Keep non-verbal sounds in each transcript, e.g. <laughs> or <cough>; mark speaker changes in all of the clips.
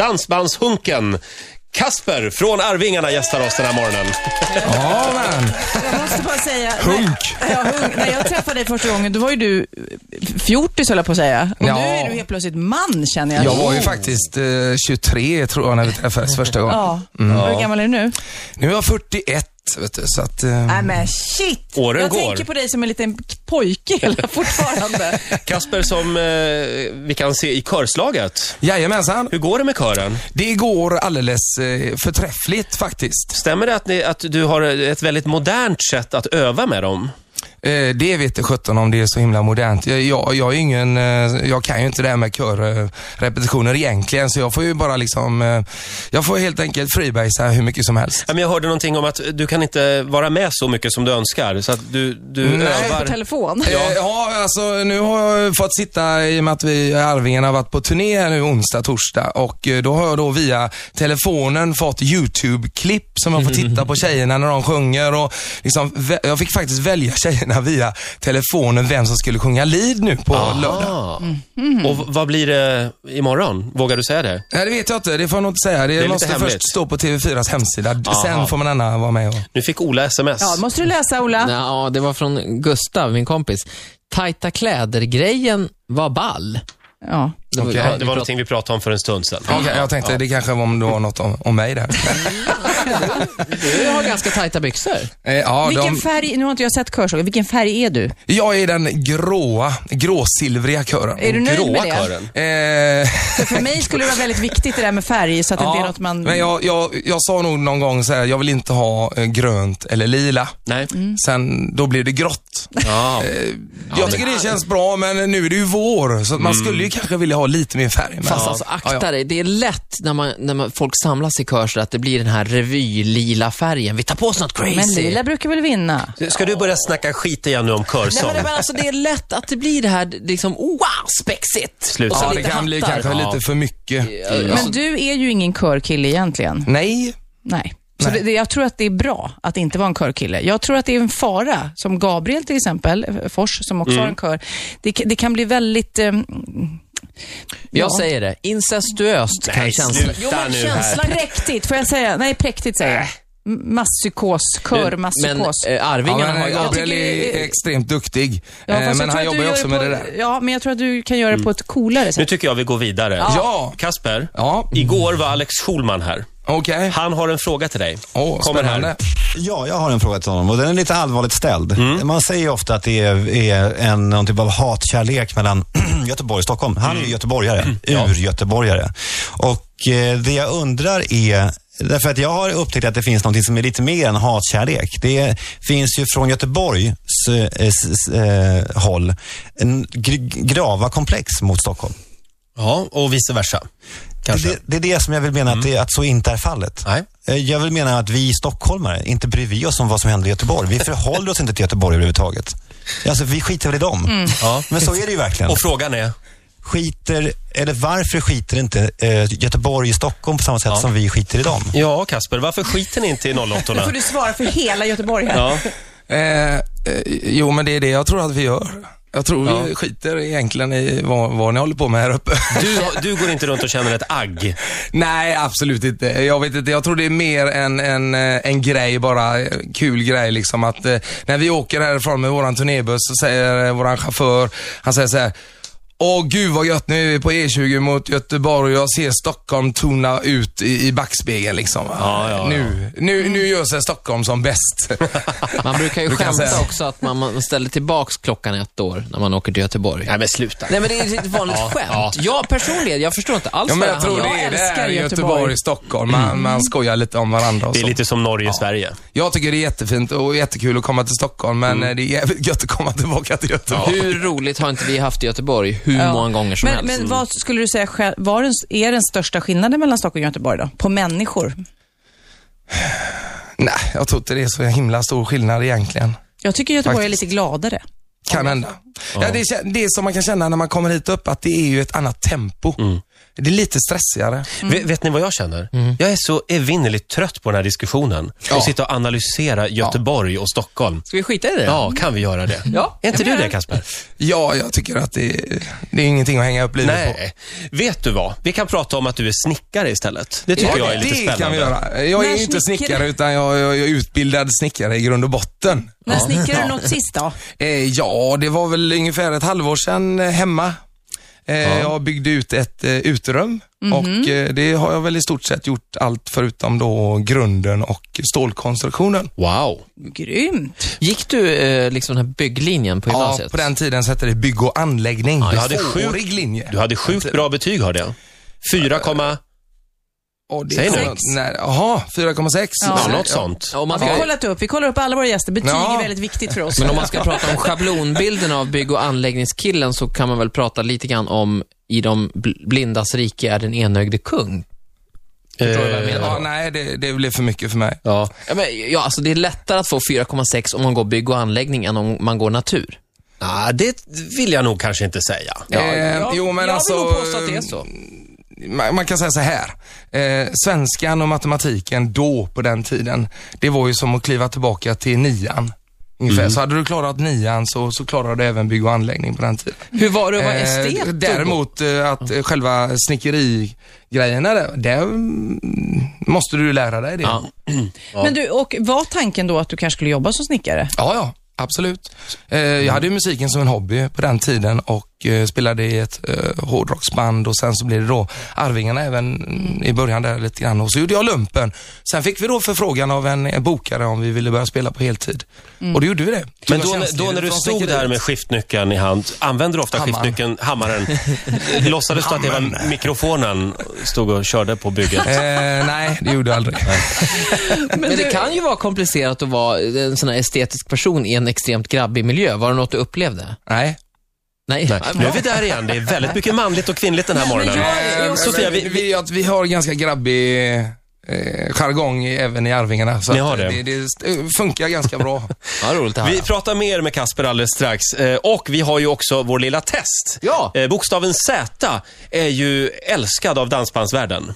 Speaker 1: dansbandshunken Kasper från Arvingarna gästar oss den här morgonen.
Speaker 2: Ja, man.
Speaker 3: Jag <laughs> måste bara säga...
Speaker 2: Hunk.
Speaker 3: När, ja, hunk. När jag träffade dig första gången, då var ju du eh, fjortis höll jag på att säga. Och
Speaker 2: Ja.
Speaker 3: nu är du helt plötsligt man känner jag.
Speaker 2: Jag var ju faktiskt eh, 23 tror jag när vi träffades första gången.
Speaker 3: Ja. Hur gammal är du nu?
Speaker 2: Nu är jag 41, vet du, så att... Eh,
Speaker 3: Nej men shit!
Speaker 1: Åren
Speaker 3: jag
Speaker 1: går.
Speaker 3: tänker på dig som en liten pojke
Speaker 2: <laughs>
Speaker 3: hela fortfarande.
Speaker 1: Kasper som eh, vi kan se i körslaget.
Speaker 2: jajamensan.
Speaker 1: Hur går det med kören?
Speaker 2: Det går alldeles eh, förträffligt faktiskt.
Speaker 1: Stämmer det att, ni, att du har ett väldigt modernt sätt att öva med dem?
Speaker 2: Eh, det vet jag sjutton om det är så himla modernt. Jag, jag, jag, är ju ingen, eh, jag kan ju inte det här med körrepetitioner egentligen, så jag får ju bara liksom... Eh, jag får helt enkelt freebasea hur mycket som helst.
Speaker 1: Ja, men Jag hörde någonting om att du kan inte vara med så mycket som du önskar, så att du, du
Speaker 2: Nej.
Speaker 3: Mm. På
Speaker 1: övar.
Speaker 3: telefon.
Speaker 2: Ja. ja, alltså nu har jag fått sitta i och med att vi Arvingen har varit på turné här nu onsdag, torsdag och eh, då har jag då via telefonen fått YouTube-klipp som jag får titta på tjejerna när de sjunger och liksom, vä- jag fick faktiskt välja tjejerna via telefonen vem som skulle sjunga lead nu på lördag.
Speaker 1: Ah.
Speaker 3: Mhm.
Speaker 1: Och v- vad blir det imorgon? Vågar du säga det?
Speaker 2: Nej, det vet jag inte. Det får jag nog inte säga. Det,
Speaker 1: lite
Speaker 2: måste
Speaker 1: hemligt.
Speaker 2: först stå på TV4s hemsida. D-
Speaker 1: Aha.
Speaker 2: Sen får man gärna vara med och...
Speaker 1: Nu fick Ola sms.
Speaker 3: Ja, måste du läsa Ola?
Speaker 4: Ja, det var från Gustav, min kompis. Tajta kläder-grejen var ball.
Speaker 3: Ja.
Speaker 4: Det var,
Speaker 1: Ja,
Speaker 4: ja,
Speaker 1: det var
Speaker 4: vi prat-
Speaker 1: någonting vi pratade om för en stund sedan.
Speaker 2: Okej, jag tänkte det kanske var om det var något om, om mig där.
Speaker 4: Du har ganska tajta byxor.
Speaker 2: Eh, ja,
Speaker 3: Vilken
Speaker 2: de,
Speaker 3: färg, nu har inte jag sett körslaget, vilken färg är du?
Speaker 2: jag är den gråa, gråsilvriga kören.
Speaker 3: Är du nöjd
Speaker 1: Gråa
Speaker 3: med det?
Speaker 1: kören.
Speaker 2: Eh, <laughs>
Speaker 3: För, för mig skulle det vara väldigt viktigt det där med färg, så att det inte är något man...
Speaker 2: Men jag, jag, jag sa nog någon gång så här, jag vill inte ha eh, grönt eller lila.
Speaker 1: Nej.
Speaker 3: Mm.
Speaker 2: Sen, då blev det
Speaker 3: <laughs>
Speaker 2: grått.
Speaker 1: Ja.
Speaker 2: jag tycker det känns bra, men nu är det ju vår, så att man skulle ju kanske vilja ha lite mer färg. Men,
Speaker 4: Mm. Fast alltså, akta dig. Det är lätt när, man, när man, folk samlas i kör så att det blir den här revylila färgen. Vi tar på oss något crazy.
Speaker 3: Men lila brukar väl vinna?
Speaker 1: Ska du börja snacka skit igen nu om
Speaker 4: Nej,
Speaker 1: körsång?
Speaker 4: men, men alltså, det är lätt att det blir det här det- liksom, wow, spexigt.
Speaker 1: Slut.
Speaker 4: Och så
Speaker 2: ja, det
Speaker 4: lite
Speaker 2: kan bli
Speaker 4: hattar.
Speaker 2: kanske
Speaker 1: Ja.
Speaker 2: lite för mycket.
Speaker 3: Men du är ju ingen körkille egentligen.
Speaker 2: Nej,
Speaker 3: Nej. Så Det, det, jag tror att det är bra att inte vara en körkille. Jag tror att det är en fara, som Gabriel till exempel, eh, Fors, som också har en kör. Det, ka- det kan bli väldigt... Eh,
Speaker 4: Jag
Speaker 3: Ja.
Speaker 4: säger det, incestuöst kan
Speaker 1: Nej,
Speaker 4: känslan.
Speaker 1: sluta nu här.
Speaker 3: präktigt, får jag säga? Nej, präktigt säger jag. M- Masspsykos,
Speaker 4: Men
Speaker 3: körmasspsykos.
Speaker 4: eh,
Speaker 2: ja,
Speaker 4: Arvingarna
Speaker 2: men,
Speaker 4: har ju
Speaker 3: jag
Speaker 2: Gabriel
Speaker 3: tycker-
Speaker 2: är extremt duktig.
Speaker 3: Ja, fast
Speaker 2: eh, men
Speaker 3: jag tror
Speaker 2: han
Speaker 3: att du
Speaker 2: jobbar ju
Speaker 3: gör
Speaker 2: också med
Speaker 3: på,
Speaker 2: det där.
Speaker 3: Ja, men jag tror att du kan göra det på ett coolare
Speaker 1: Nu
Speaker 3: sätt.
Speaker 1: tycker jag vi går vidare.
Speaker 2: Ja,
Speaker 1: Kasper,
Speaker 2: ja,
Speaker 1: igår var Alex Schulman här.
Speaker 2: okej.
Speaker 1: Han har en fråga till dig.
Speaker 2: Åh,
Speaker 1: Kommer här.
Speaker 2: spännande.
Speaker 5: Ja, jag har en fråga till honom och den är lite allvarligt ställd. Man säger ju ofta att det är, är en, någon typ av hatkärlek mellan <clears throat> Göteborg och Stockholm. Han är ju göteborgare, ur-göteborgare. Och eh, det jag undrar är, därför att jag har upptäckt att det finns något som är lite mer än hatkärlek. Det finns ju från Göteborgs eh, s, s, eh, håll en gr- grava komplex mot Stockholm.
Speaker 1: Ja, och vice versa. Kanske.
Speaker 5: Det, det är det som jag vill mena att, det, att så inte är fallet.
Speaker 1: Mm. Nej.
Speaker 5: Eh, Jag vill mena att vi stockholmare inte bryr vi oss om vad som händer i Göteborg. Vi förhåller oss inte till Göteborg överhuvudtaget. Alltså, vi skiter väl i dem.
Speaker 1: Ja.
Speaker 5: Men så är det ju verkligen.
Speaker 1: Och frågan är?
Speaker 5: Skiter, eller varför skiter inte eh, Göteborg i Stockholm på samma sätt som vi skiter i dem?
Speaker 1: Ja, Kasper, varför skiter ni inte i
Speaker 3: <laughs> Nu får
Speaker 1: 08
Speaker 3: du svara för hela Göteborg här.
Speaker 1: Ja.
Speaker 2: Eh, eh, jo, men det är det jag tror att vi gör. Jag tror vi skiter egentligen i vad, vad ni håller på med här uppe. <laughs>
Speaker 1: Du, du går inte runt och känner ett agg.
Speaker 2: Nej, absolut inte. Jag vet inte. Jag tror det är mer en, en, eh, en grej bara, eh, kul grej liksom att eh, när vi åker härifrån med våran turnébuss så säger eh, våran chaufför, han säger så här Åh gud vad gött, nu är vi på E20 mot Göteborg och jag ser Stockholm tona ut i, i backspegeln liksom. va?
Speaker 1: Ja, ja, ja.
Speaker 2: Nu, nu, nu gör sig Stockholm som bäst.
Speaker 4: Man brukar
Speaker 2: <laughs>
Speaker 4: ju
Speaker 2: Du kan
Speaker 4: skämta
Speaker 2: säga.
Speaker 4: också att man, man ställer tillbaks klockan ett år när man åker till Göteborg.
Speaker 1: Nej, men sluta.
Speaker 4: Nej men det är ett vanligt skämt. Jag personligen, jag förstår inte alls
Speaker 2: Ja, men
Speaker 4: vad
Speaker 2: jag tror
Speaker 4: handlar
Speaker 2: det
Speaker 4: om.
Speaker 2: är det
Speaker 3: älskar
Speaker 2: här i
Speaker 3: Göteborg.
Speaker 2: Göteborg, Mm. Stockholm. Man, man skojar lite om varandra och
Speaker 1: Det är
Speaker 2: så.
Speaker 1: lite som Norge och Sverige.
Speaker 2: Jag tycker det är jättefint och jättekul att komma till Stockholm, men eh, det är jävligt gött att komma tillbaka till Göteborg.
Speaker 4: Hur roligt har inte vi haft i Göteborg hur många gånger som
Speaker 3: men,
Speaker 4: helst? Mm.
Speaker 3: Men vad skulle du säga själv, var den, är den största skillnaden mellan Stockholm och Göteborg då? På människor?
Speaker 2: Nej, jag tror inte det är så himla stor skillnad egentligen.
Speaker 3: Jag tycker Göteborg
Speaker 2: Faktiskt.
Speaker 3: är lite gladare.
Speaker 2: Kan hända. Ja, det, är, kä- det är som man kan känna när man kommer hit upp, att det är ju ett annat tempo. Det är lite stressigare.
Speaker 1: Vet, vet ni vad jag känner? Jag är så evinnerligt trött på den här diskussionen. Att sitta och analysera Göteborg och Stockholm.
Speaker 4: Ska vi skita i det?
Speaker 1: Ja, kan vi göra det?
Speaker 4: Ja,
Speaker 1: är inte
Speaker 4: jag
Speaker 1: du
Speaker 4: menar
Speaker 1: det Kasper?
Speaker 2: Ja, jag tycker att det, det är ingenting att hänga upp livet på.
Speaker 1: Nej. Vet du vad? Vi kan prata om att du är snickare istället. Det tycker jag är lite
Speaker 2: det
Speaker 1: spännande.
Speaker 2: kan vi göra. Jag är
Speaker 3: När
Speaker 2: ju inte
Speaker 3: snickare-
Speaker 2: snickare utan jag, jag, jag är utbildad snickare i grund och botten.
Speaker 3: När snickrade du något sist då?
Speaker 2: Eh, ja, det var väl ungefär ett halvår sedan eh, hemma. Eh, Jag byggde ut ett eh, uterum
Speaker 4: Mhm.
Speaker 2: och eh, det har jag väl i stort sett gjort allt förutom då grunden och stålkonstruktionen.
Speaker 1: Wow.
Speaker 3: Grymt.
Speaker 4: Gick du eh, liksom den här bygglinjen på
Speaker 2: Ja,
Speaker 4: gymnasiet?
Speaker 2: på den tiden så hette det bygg och anläggning.
Speaker 1: du hade
Speaker 2: Tvåårig linje.
Speaker 1: Du hade sjukt bra betyg hörde jag. 4,
Speaker 2: Och det-
Speaker 1: Säg nu.
Speaker 2: Ja, nej, Jaha, 4,6.
Speaker 1: ja,
Speaker 2: Så-
Speaker 1: något sånt.
Speaker 4: Ja, om man
Speaker 3: Vi
Speaker 4: ska,
Speaker 3: har kollat upp, vi kollar upp alla våra gäster. Betyg
Speaker 2: Ja.
Speaker 3: är väldigt viktigt för oss.
Speaker 4: Men om man ska prata om schablonbilden av bygg och anläggningskillen så kan man väl prata lite grann om i de bl- blindas rike är den enögde kung. Förstår du vad jag menar?
Speaker 2: Ja, nej, det, det blev för mycket för mig.
Speaker 4: Ja. men, ja, alltså det är lättare att få 4,6 om man går bygg och anläggning än om man går natur.
Speaker 1: Ah, det vill jag nog kanske inte säga.
Speaker 2: Eh, jo, men
Speaker 4: jag
Speaker 2: alltså,
Speaker 4: vill nog påstå att det är så.
Speaker 2: man, man kan säga så här. Eh, svenskan och matematiken då, på den tiden, det var ju som att kliva tillbaka till nian. Ungefär.
Speaker 4: Mm.
Speaker 2: Så hade du klarat nian så, så klarade du även bygg och anläggning på den tiden.
Speaker 4: Hur var det att vara
Speaker 2: Eh,
Speaker 4: estet? då?
Speaker 2: däremot eh, att eh, själva snickerigrejerna, där, där mm, måste du lära dig det.
Speaker 4: Ja.
Speaker 3: Men du, och var tanken då att du kanske skulle jobba som snickare? <laughs>
Speaker 2: Ja, ja. Absolut. Eh, jag hade ju musiken som en hobby på den tiden och eh, spelade i ett eh, hårdrocksband och sen så blev det då Arvingarna även mm, i början där lite grann och så gjorde jag lumpen. Sen fick vi då förfrågan av en eh, bokare om vi ville börja spela på heltid och då gjorde vi det.
Speaker 1: Men
Speaker 2: Tog
Speaker 1: då,
Speaker 2: jag
Speaker 1: när-
Speaker 2: tjänstledigt
Speaker 1: då när du
Speaker 2: från
Speaker 1: stod där med skiftnyckeln i hand, använde du ofta
Speaker 2: Hammaren.
Speaker 1: skiftnyckeln, hammaren? Låtsades du att det var mikrofonen stod och körde på
Speaker 2: <laughs>
Speaker 1: bygget?
Speaker 2: Eh, nej, det gjorde jag aldrig.
Speaker 4: Men, det kan ju vara komplicerat att vara en sån här estetisk person i en extremt grabbig miljö. Var det något du upplevde?
Speaker 2: nej.
Speaker 4: Nej.
Speaker 1: Nej. Nu är vi där igen. Det är väldigt mycket manligt och kvinnligt den här morgonen.
Speaker 2: Eh, men
Speaker 1: Sofia, vi-
Speaker 2: vi, vi, att vi har ganska grabbig eh, jargong i- även i Arvingarna. Så
Speaker 1: Ni
Speaker 2: att,
Speaker 1: har
Speaker 2: eh,
Speaker 1: det.
Speaker 2: Det, det eh, funkar ganska bra.
Speaker 4: Ja, roligt det här.
Speaker 1: Vi pratar mer med Kasper alldeles strax. Eh, Och vi har ju också vår lilla test.
Speaker 4: Ja.
Speaker 1: Eh, Bokstaven Z är ju älskad av dansbandsvärlden.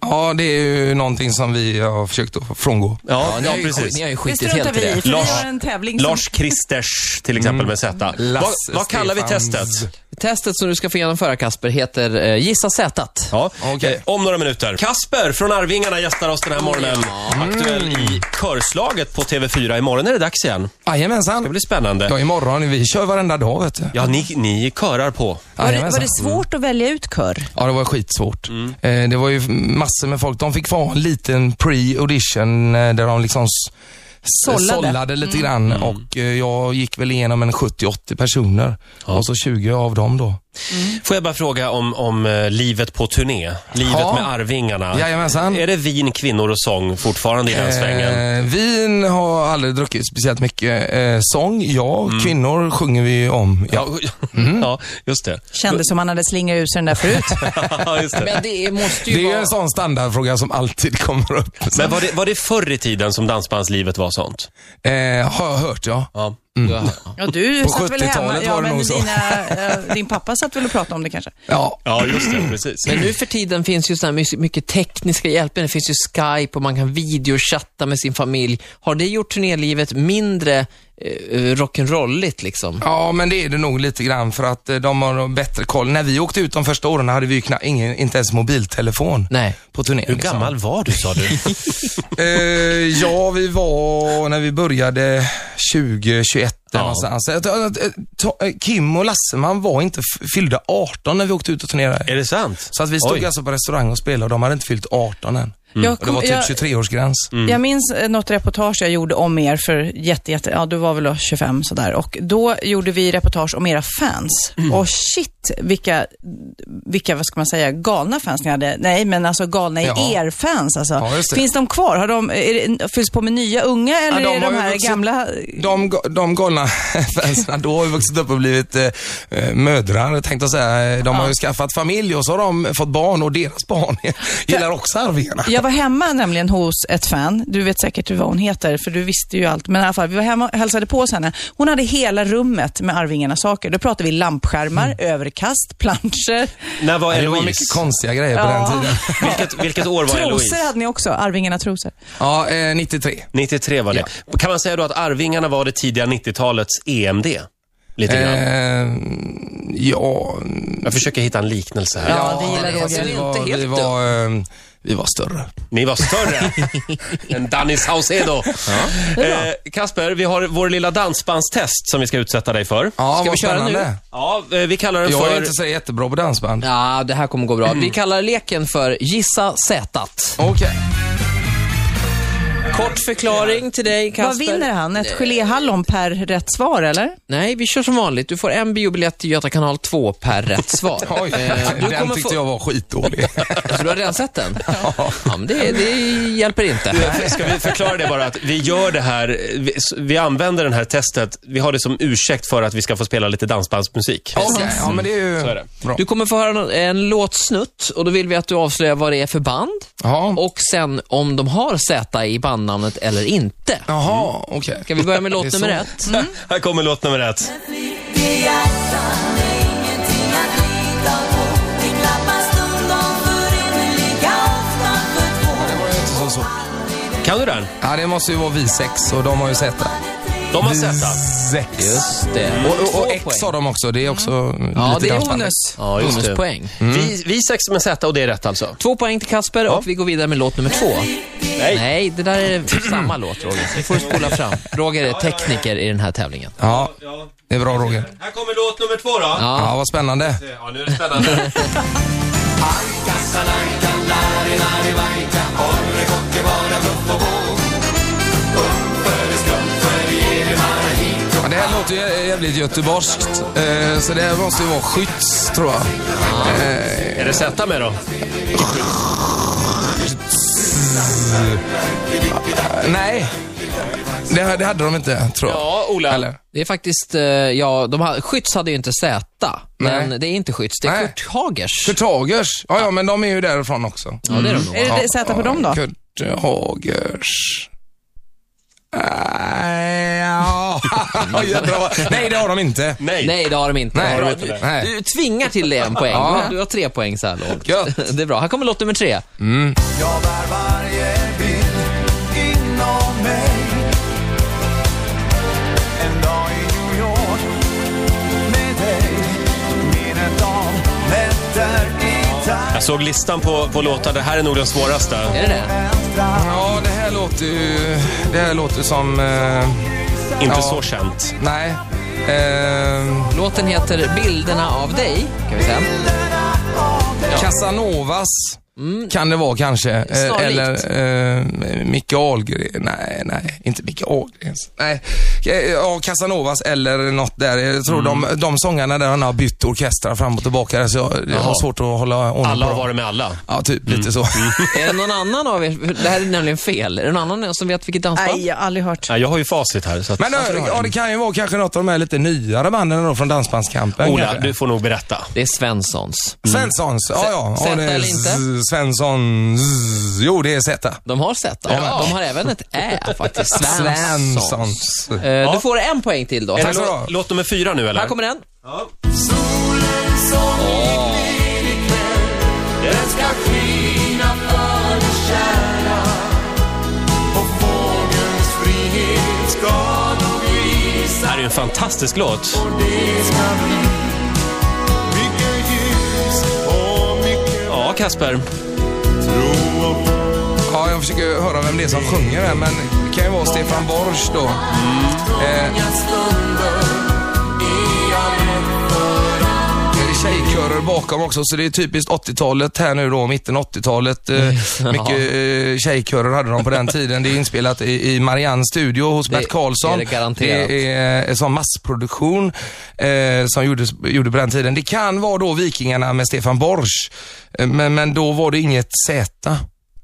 Speaker 2: Ja, det är ju någonting som vi har försökt att frångå.
Speaker 1: Ja,
Speaker 4: ni,
Speaker 1: ja
Speaker 4: har ju,
Speaker 1: precis.
Speaker 4: ni har ju
Speaker 3: Det
Speaker 4: skitit
Speaker 3: struntar
Speaker 4: helt i
Speaker 3: vi i,
Speaker 4: det.
Speaker 3: för
Speaker 1: Lars-
Speaker 3: vi har en tävling som...
Speaker 1: Lars Kristers till exempel med Z. Vad,
Speaker 2: Lasse
Speaker 1: vad kallar vi
Speaker 2: Stefans.
Speaker 1: testet?
Speaker 4: Testet som du ska få genomföra Kasper heter eh, Gissa Zätat.
Speaker 1: Ja,
Speaker 2: Okej.
Speaker 1: eh, om några minuter. Kasper från Arvingarna gästar oss den här morgonen. Mm. Aktuell i Körslaget på TV4. Imorgon är det dags igen. Det
Speaker 2: Jajamensan.
Speaker 1: blir spännande.
Speaker 2: Ja, imorgon. Vi kör varenda dag, vet du.
Speaker 1: Ja, ni, ni körar på.
Speaker 3: Var det, var
Speaker 2: Jajamensan.
Speaker 3: det svårt att välja ut kör?
Speaker 2: Ja, det var skitsvårt. Eh, det var ju massor med folk. De fick vara en liten pre-audition eh, där de liksom s-
Speaker 3: Sållade.
Speaker 2: sållade lite grann och eh, jag gick väl igenom en 70-80 personer och så 20 av dem då.
Speaker 1: Får jag bara fråga om, om eh, livet på turné? Livet
Speaker 2: Ja.
Speaker 1: med Arvingarna.
Speaker 2: Jajamensan.
Speaker 1: Är det vin, kvinnor och sång fortfarande i den svängen?
Speaker 2: Eh, vin har aldrig druckit speciellt mycket. Eh, sång, ja. Kvinnor sjunger vi ju om. Ja.
Speaker 1: Ja, <laughs>
Speaker 2: Mhm.
Speaker 1: ja, just det.
Speaker 3: Kändes som han hade slingrat ur sig den där
Speaker 4: <laughs>
Speaker 3: förut.
Speaker 1: Ja, just det.
Speaker 4: Men det är- måste ju
Speaker 2: Det är ju
Speaker 4: vara...
Speaker 2: en sån standardfråga som alltid <laughs> kommer upp.
Speaker 1: Men var det, var det förr i tiden som dansbandslivet var sånt?
Speaker 2: Eh, har jag hört, ja.
Speaker 1: Ja.
Speaker 2: Mm.
Speaker 4: Ja.
Speaker 3: Ja, du
Speaker 2: På
Speaker 3: satt väl
Speaker 2: 70-talet
Speaker 3: hemma.
Speaker 2: var
Speaker 3: Ja,
Speaker 2: det
Speaker 3: men
Speaker 2: nog så.
Speaker 3: dina, eh, din pappa satt väl och pratade om det kanske?
Speaker 2: Ja,
Speaker 1: ja, just det. Precis.
Speaker 4: Men nu för tiden finns ju så här mycket- mycket tekniska hjälpmedel. Det finns ju Skype och man kan videochatta med sin familj. Har det gjort turnélivet mindre eh, rock'n'rolligt liksom?
Speaker 2: Ja, men det är det nog lite grann för att eh, de har bättre koll. När vi åkte ut de första åren hade vi ju knappt, ingen, inte ens mobiltelefon
Speaker 4: Nej.
Speaker 2: på turné.
Speaker 1: Hur gammal var du, sa du?
Speaker 2: <laughs> Eh, ja, vi var, när vi började, 20, 21
Speaker 1: Ja.
Speaker 2: eller någonstans. Eh, ta- eh, ta- eh, Kim och Lasseman var inte, f- fyllde 18 när vi åkte ut och turnerade.
Speaker 1: är det sant?
Speaker 2: Så att vi stod
Speaker 1: Eh, Oj.
Speaker 2: alltså på restaurang och spelade och de hade inte fyllt 18 än.
Speaker 4: Mm.
Speaker 3: Jag,
Speaker 2: Och det var
Speaker 3: kom,
Speaker 2: typ
Speaker 3: jag,
Speaker 2: 23-årsgräns.
Speaker 3: jag minns eh, något reportage jag gjorde om er för jätte, jätte, ja du var väl då 25 sådär. Och då gjorde vi reportage om era fans.
Speaker 2: Mm.
Speaker 3: Och shit, vilka, vilka, vad ska man säga, galna fans ni hade. Nej, men alltså galna i
Speaker 2: Ja.
Speaker 3: er fans alltså.
Speaker 2: Ja, just det.
Speaker 3: Finns de kvar? Har de, är det, fylls på med nya unga eller
Speaker 2: Ja, de
Speaker 3: är det
Speaker 2: har
Speaker 3: de
Speaker 2: ju
Speaker 3: här
Speaker 2: vuxit-
Speaker 3: gamla?
Speaker 2: De, ga- de galna <laughs> fansen då har ju vuxit upp och blivit eh, eh, mödrar, tänkte jag säga. De har ju skaffat familj och så har de fått barn och deras barn <laughs> gillar också Arvingarna.
Speaker 3: Jag var hemma nämligen hos ett fan. Du vet säkert vad hon heter, för du visste ju allt. Men i alla fall, vi var hemma och hälsade på hos henne. Hon hade hela rummet med Arvingarnas saker. Då pratade vi lampskärmar,
Speaker 2: Mm.
Speaker 3: överkast, planscher.
Speaker 1: När var
Speaker 2: Det var
Speaker 1: Eloise?
Speaker 2: mycket konstiga grejer på
Speaker 3: Ja.
Speaker 2: den <laughs> tiden.
Speaker 1: Vilket, vilket år var Eloise?
Speaker 3: Trosor hade ni också, Arvingarna trosor.
Speaker 2: Ja, eh, 93.
Speaker 1: 93 var det. Kan man säga då att Arvingarna var det tidiga 90-talets EMD? Lite grann.
Speaker 2: Eh, ja,
Speaker 1: Jag försöker hitta en liknelse här.
Speaker 3: Ja, det gillar
Speaker 4: nej, alltså,
Speaker 3: Roger.
Speaker 4: det
Speaker 2: vi
Speaker 4: är
Speaker 2: var,
Speaker 4: inte helt
Speaker 2: vi var, eh, vi var större.
Speaker 1: Ni var
Speaker 2: <laughs>
Speaker 1: större än Danny Saucedo. Eh, Kasper, vi har vår lilla dansbandstest som vi ska utsätta dig för.
Speaker 2: Ja,
Speaker 4: Ska vi
Speaker 2: vad
Speaker 4: köra
Speaker 2: spännande.
Speaker 4: nu?
Speaker 1: Ja, eh, vi kallar den
Speaker 2: Jag är
Speaker 1: för...
Speaker 2: inte så jättebra på dansband.
Speaker 4: Ja, det här kommer gå bra. Vi kallar leken för Gissa Zätat.
Speaker 2: Okej.
Speaker 4: Kort förklaring till dig, Kasper.
Speaker 3: Vad vinner han? Ett geléhallon per rätt svar, eller?
Speaker 4: Nej, vi kör som vanligt. Du får en biobiljett till Göta kanal 2 per rätt svar.
Speaker 2: <laughs> Oj,
Speaker 4: <laughs> Eh, du
Speaker 2: den
Speaker 4: kommer
Speaker 2: tyckte
Speaker 4: få-
Speaker 2: jag var skitdålig.
Speaker 4: Så du har redan sett den? Ja. men det, det hjälper inte.
Speaker 1: Ska vi förklara det bara att vi gör det här, eh, vi, s- vi använder den här testet, vi har det som ursäkt för att vi ska få spela lite dansbandsmusik.
Speaker 2: Okej, ja men det är ju
Speaker 1: Så är det.
Speaker 2: bra.
Speaker 4: Du kommer få höra en, en låtsnutt och då vill vi att du avslöjar vad det är för band
Speaker 2: Jaha,
Speaker 4: och sen om de har Z i bandnamnet eller inte.
Speaker 2: Jaha okej.
Speaker 4: Ska vi börja med
Speaker 2: Det
Speaker 4: låt
Speaker 2: är så.
Speaker 4: nummer ett?
Speaker 2: Mm.
Speaker 1: Här kommer låt nummer ett. Kan du den?
Speaker 2: Ja, det måste ju vara vi sex och de har ju sett det.
Speaker 1: De har sett den.
Speaker 2: Sex.
Speaker 4: Just det.
Speaker 2: Och, och,
Speaker 4: Två
Speaker 2: och X har
Speaker 4: poäng.
Speaker 2: de också. Det är också
Speaker 4: Ja,
Speaker 2: lite
Speaker 4: det är
Speaker 2: dansband.
Speaker 4: bonus.
Speaker 1: Ja, just det.
Speaker 4: Bonuspoäng.
Speaker 1: Vi, vi sex med Z och det är rätt alltså?
Speaker 4: Två poäng till Kasper och vi går vidare med låt nummer två.
Speaker 1: Nej.
Speaker 4: Nej, det där är samma låt, Roger. Du får spola fram. Roger är tekniker i den här tävlingen.
Speaker 2: Ja, det är bra Roger.
Speaker 1: Här kommer låt nummer två då. Ja,
Speaker 2: Ja, vad spännande.
Speaker 1: nu är det spännande.
Speaker 2: Ja, det här låter ju jä- jävligt göteborgskt. Eh, så det här måste ju vara Skytts, tror jag.
Speaker 1: är det Z med då?
Speaker 2: Eh, Nej, det, här- det hade de inte, tror jag.
Speaker 1: Ja, Ola.
Speaker 2: Eller?
Speaker 4: Det är faktiskt, eh, ja, de ha, Skytts hade ju inte Z, men
Speaker 2: Nej.
Speaker 4: det är inte Skytts, det är
Speaker 2: Nej.
Speaker 4: Kurt Hagers.
Speaker 2: Kurt Hagers. Ja, ja, men de är ju därifrån också. Mm.
Speaker 4: Ja, det är de nog.
Speaker 3: Är det det Z på dem då?
Speaker 2: Kurt Hagers. Äh, ja. <laughs> Jävlar vad- Nej, det har de inte.
Speaker 1: Nej.
Speaker 4: Nej, det har de inte.
Speaker 2: Nej,
Speaker 4: Bra.
Speaker 2: jag vet
Speaker 4: du,
Speaker 2: inte. Nej.
Speaker 4: du tvingar till dig en poäng.
Speaker 2: Ja.
Speaker 4: Du har- Du har tre poäng så här långt.
Speaker 2: Gött.
Speaker 4: Det är bra. Här kommer låt nummer tre.
Speaker 6: Jag bär varje bild inom mig En dag i New York med dig Minnet av nätter i
Speaker 1: Jag såg listan på, på låtar, det här är nog den svåraste.
Speaker 4: Är det det?
Speaker 6: Thailand
Speaker 2: Ja, det här låter ju... Det här låter som... Eh,
Speaker 1: Inte
Speaker 2: Ja.
Speaker 1: så känt.
Speaker 2: nej. Eh,
Speaker 4: Låten heter Bilderna av dig, kan vi säga.
Speaker 2: Casanovas kan det vara kanske. Eh,
Speaker 4: Snarlikt.
Speaker 2: Eller eh, Micke Ahlgren. Nej, nej, inte Micke Ahlgren. Nej, Eh, ja, Casanovas eller något där. Jag tror
Speaker 1: Mm.
Speaker 2: de, de sångarna där han har bytt orkestrar fram och tillbaka. där, Så jag, jag har svårt att hålla ordning
Speaker 1: Alla
Speaker 2: på
Speaker 1: har
Speaker 2: dem.
Speaker 1: varit Mm. med alla.
Speaker 2: Ja, typ lite så.
Speaker 4: Är det någon annan av er, det här är nämligen fel, är det någon annan som vet vilket dansband?
Speaker 3: Nej, jag har aldrig hört.
Speaker 1: Nej, jag har ju facit här. Så att...
Speaker 2: Men eh, ja, det kan ju vara kanske något av de här lite nyare banden då från Dansbandskampen.
Speaker 1: Ola,
Speaker 2: kanske.
Speaker 1: du får nog berätta.
Speaker 4: Det är Svenssons.
Speaker 2: Svenssons, ja ja.
Speaker 4: Mm. Z-
Speaker 2: Ja, det är
Speaker 4: eller inte?
Speaker 2: Z- Svensson, Z- jo det är Z.
Speaker 4: De har Z. De har även ett Ä faktiskt. Svenssons.
Speaker 2: Svenssons.
Speaker 4: Eh, Du får en poäng till då.
Speaker 1: Är det
Speaker 2: Tack så
Speaker 1: lå-
Speaker 2: bra.
Speaker 1: låt nummer fyra nu eller?
Speaker 4: Här kommer den.
Speaker 1: Det här är ju en fantastisk låt. Ja, Kasper.
Speaker 2: Ja, jag försöker höra vem det är som sjunger här, men det kan ju vara Stefan Borsch då.
Speaker 4: Mm.
Speaker 2: Eh, det är tjejkörer bakom också, så det är typiskt 80-talet här nu då, mitten 80-talet. Eh, <laughs> mycket eh, tjejkörer hade de på den tiden. Det är inspelat i, i Mariannes studio hos Bert Karlsson.
Speaker 4: är det garanterat.
Speaker 2: Det är eh, som massproduktion eh, som gjordes, gjorde på den tiden. Det kan vara då Vikingarna med Stefan Borsch, eh, men, men då var det inget Z.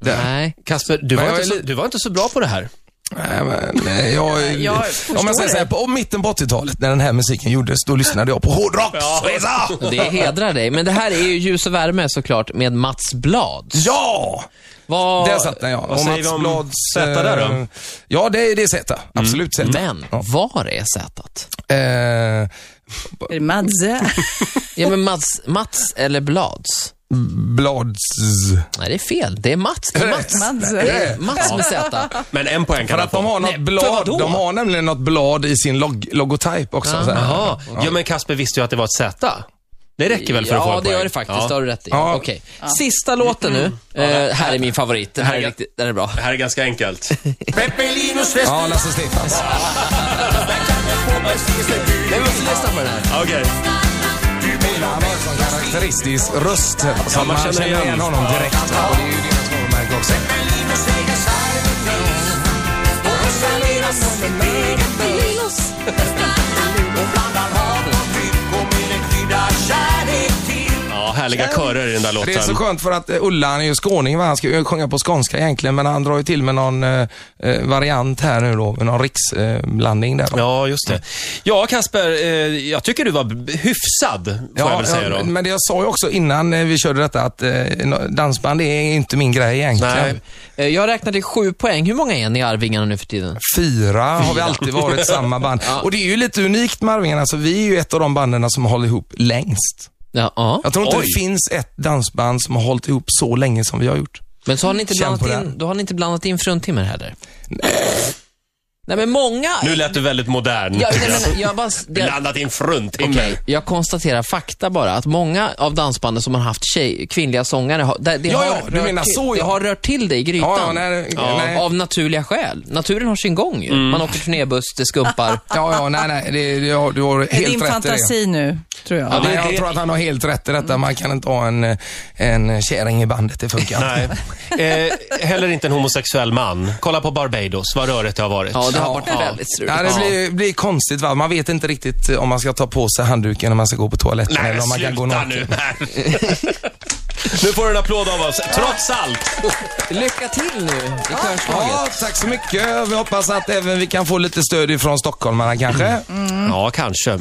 Speaker 2: där.
Speaker 4: Nej.
Speaker 1: Kasper, du var,
Speaker 2: Men jag
Speaker 1: inte
Speaker 2: är
Speaker 1: så,
Speaker 2: li-
Speaker 1: du var inte så bra på det här.
Speaker 2: Nej, men, nej, jag,
Speaker 3: Jag
Speaker 2: om
Speaker 3: förstår
Speaker 2: man säger så här,
Speaker 3: det.
Speaker 2: på mitten på 80-talet när den här musiken gjordes, då lyssnade jag på hårdrock.
Speaker 1: Ja.
Speaker 2: Ja!
Speaker 4: Det hedrar dig. Men det här är ju Ljus och värme såklart med Mats Blad.
Speaker 2: ja!
Speaker 4: Vad-
Speaker 2: Där satt den ja.
Speaker 1: vad
Speaker 2: Och
Speaker 1: säger
Speaker 2: Mats
Speaker 1: vi om
Speaker 2: Blads,
Speaker 1: Zäta där då?
Speaker 2: eh, Ja, det, är- det är Z. Absolut Z.
Speaker 4: Mm. Men,
Speaker 2: Ja.
Speaker 4: var är Zätat?
Speaker 2: Eh,
Speaker 3: Är
Speaker 2: <laughs>
Speaker 3: det Madze?
Speaker 4: Ja, men Mats, Mats eller Blads?
Speaker 2: Blads...
Speaker 4: Nej, det är fel. Det är Mats. Det är
Speaker 2: <laughs>
Speaker 4: Mats. Det
Speaker 3: Madze?
Speaker 4: är Mats med Z.
Speaker 1: Men en poäng
Speaker 2: För
Speaker 1: kan han
Speaker 2: att de
Speaker 1: få.
Speaker 2: har något
Speaker 4: Nej, för
Speaker 2: blad,
Speaker 4: vadå?
Speaker 2: de har nämligen något blad i sin log- logotyp också. så här.
Speaker 1: Jaha. Ja, men Kasper visste ju att det var ett Z. Det räcker väl för att få en
Speaker 4: Ja, det
Speaker 1: poäng?
Speaker 4: gör det faktiskt.
Speaker 1: Ja.
Speaker 4: Det har du rätt i.
Speaker 2: Ja.
Speaker 4: Okej. Sista låten nu. Eh, här är min favorit. Den här är,
Speaker 1: Här-
Speaker 4: riktigt, den är bra.
Speaker 1: Det här är ganska enkelt.
Speaker 2: Ja, Lasse Stefans.
Speaker 4: Nej, vi måste lyssna på den här.
Speaker 1: Okej.
Speaker 2: Han har en sån karaktäristisk röst. Så
Speaker 1: Ja,
Speaker 2: man känner igen, honom direkt. Och det är ju deras varumärke också.
Speaker 1: Ja, härliga körer i den där låten.
Speaker 2: Det är så skönt för att eh, Ulla, han är ju skåning va? Han ska ju sjunga på skånska egentligen, men han drar ju till med någon eh, eh, variant här nu då. med Någon riksblandning där då.
Speaker 1: Ja, just det. Ja, Kasper, eh, jag tycker du var b- hyfsad, får jag väl säga då.
Speaker 2: men det jag sa ju också innan eh, vi körde detta att eh, no- dansband det är inte min grej egentligen.
Speaker 1: Nej.
Speaker 4: Eh, Jag räknade sju poäng. Hur många är ni i Arvingarna nu för tiden?
Speaker 2: Fyra har vi alltid varit samma
Speaker 1: <laughs>
Speaker 2: band. Och det är ju lite unikt med Arvingarna, alltså, vi är ju ett av de banden som håller ihop längst.
Speaker 4: Ja, ja.
Speaker 2: Jag tror inte
Speaker 1: Oj.
Speaker 2: det finns ett dansband som har hållit ihop så länge som vi
Speaker 1: <laughs>
Speaker 2: har gjort.
Speaker 4: Men så har ni inte
Speaker 2: Känn
Speaker 4: blandat
Speaker 2: på
Speaker 4: in,
Speaker 2: den.
Speaker 4: då har ni inte blandat in fruntimmer heller? Nej, men många...
Speaker 1: Nu lät du väldigt modern.
Speaker 4: jag,
Speaker 1: tycker
Speaker 4: nej,
Speaker 1: jag.
Speaker 4: men, jag, bara, det,
Speaker 1: <laughs> Blandat in fruntimmer.
Speaker 4: jag konstaterar fakta bara, att många av dansbanden som har haft tjej, kvinnliga sångare, har, det, det
Speaker 2: Ja,
Speaker 4: har
Speaker 2: ja, du
Speaker 4: rört
Speaker 2: menar
Speaker 4: till,
Speaker 2: så, ja.
Speaker 4: det har rört till dig i grytan.
Speaker 2: Ja, ja, nej, nej.
Speaker 4: Av naturliga skäl. Naturen har sin gång ju. Man åker turnébuss,
Speaker 2: <laughs>
Speaker 4: det skumpar.
Speaker 2: Ja, ja, nej, nej, det, det, har- du har helt
Speaker 3: Är din
Speaker 2: rätt i det.
Speaker 3: fantasi nu, tror jag.
Speaker 2: Ja,
Speaker 1: det-
Speaker 2: men jag
Speaker 1: det-
Speaker 2: tror att han har helt rätt i detta. Man kan inte ha en, eh, en kärring i bandet, det funkar inte.
Speaker 1: Nej. Eh, heller inte en homosexuell man. Kolla på Barbados, vad rörigt det har varit.
Speaker 4: Ja, det har
Speaker 2: Ja.
Speaker 4: varit
Speaker 1: Ja.
Speaker 4: väldigt struligt.
Speaker 2: Ja, det blir, blir konstigt va. Man vet inte riktigt eh, om man ska ta på sig handduken när man ska gå på toaletten
Speaker 1: Nej,
Speaker 2: eller om man
Speaker 1: sluta
Speaker 2: kan gå naken.
Speaker 1: nu här. <laughs> nu får du en applåd av oss, trots allt.
Speaker 4: Lycka till nu i körslaget.
Speaker 2: Ja, tack så mycket. Vi hoppas att även vi kan få lite stöd ifrån stockholmarna kanske.
Speaker 1: Ja, kanske.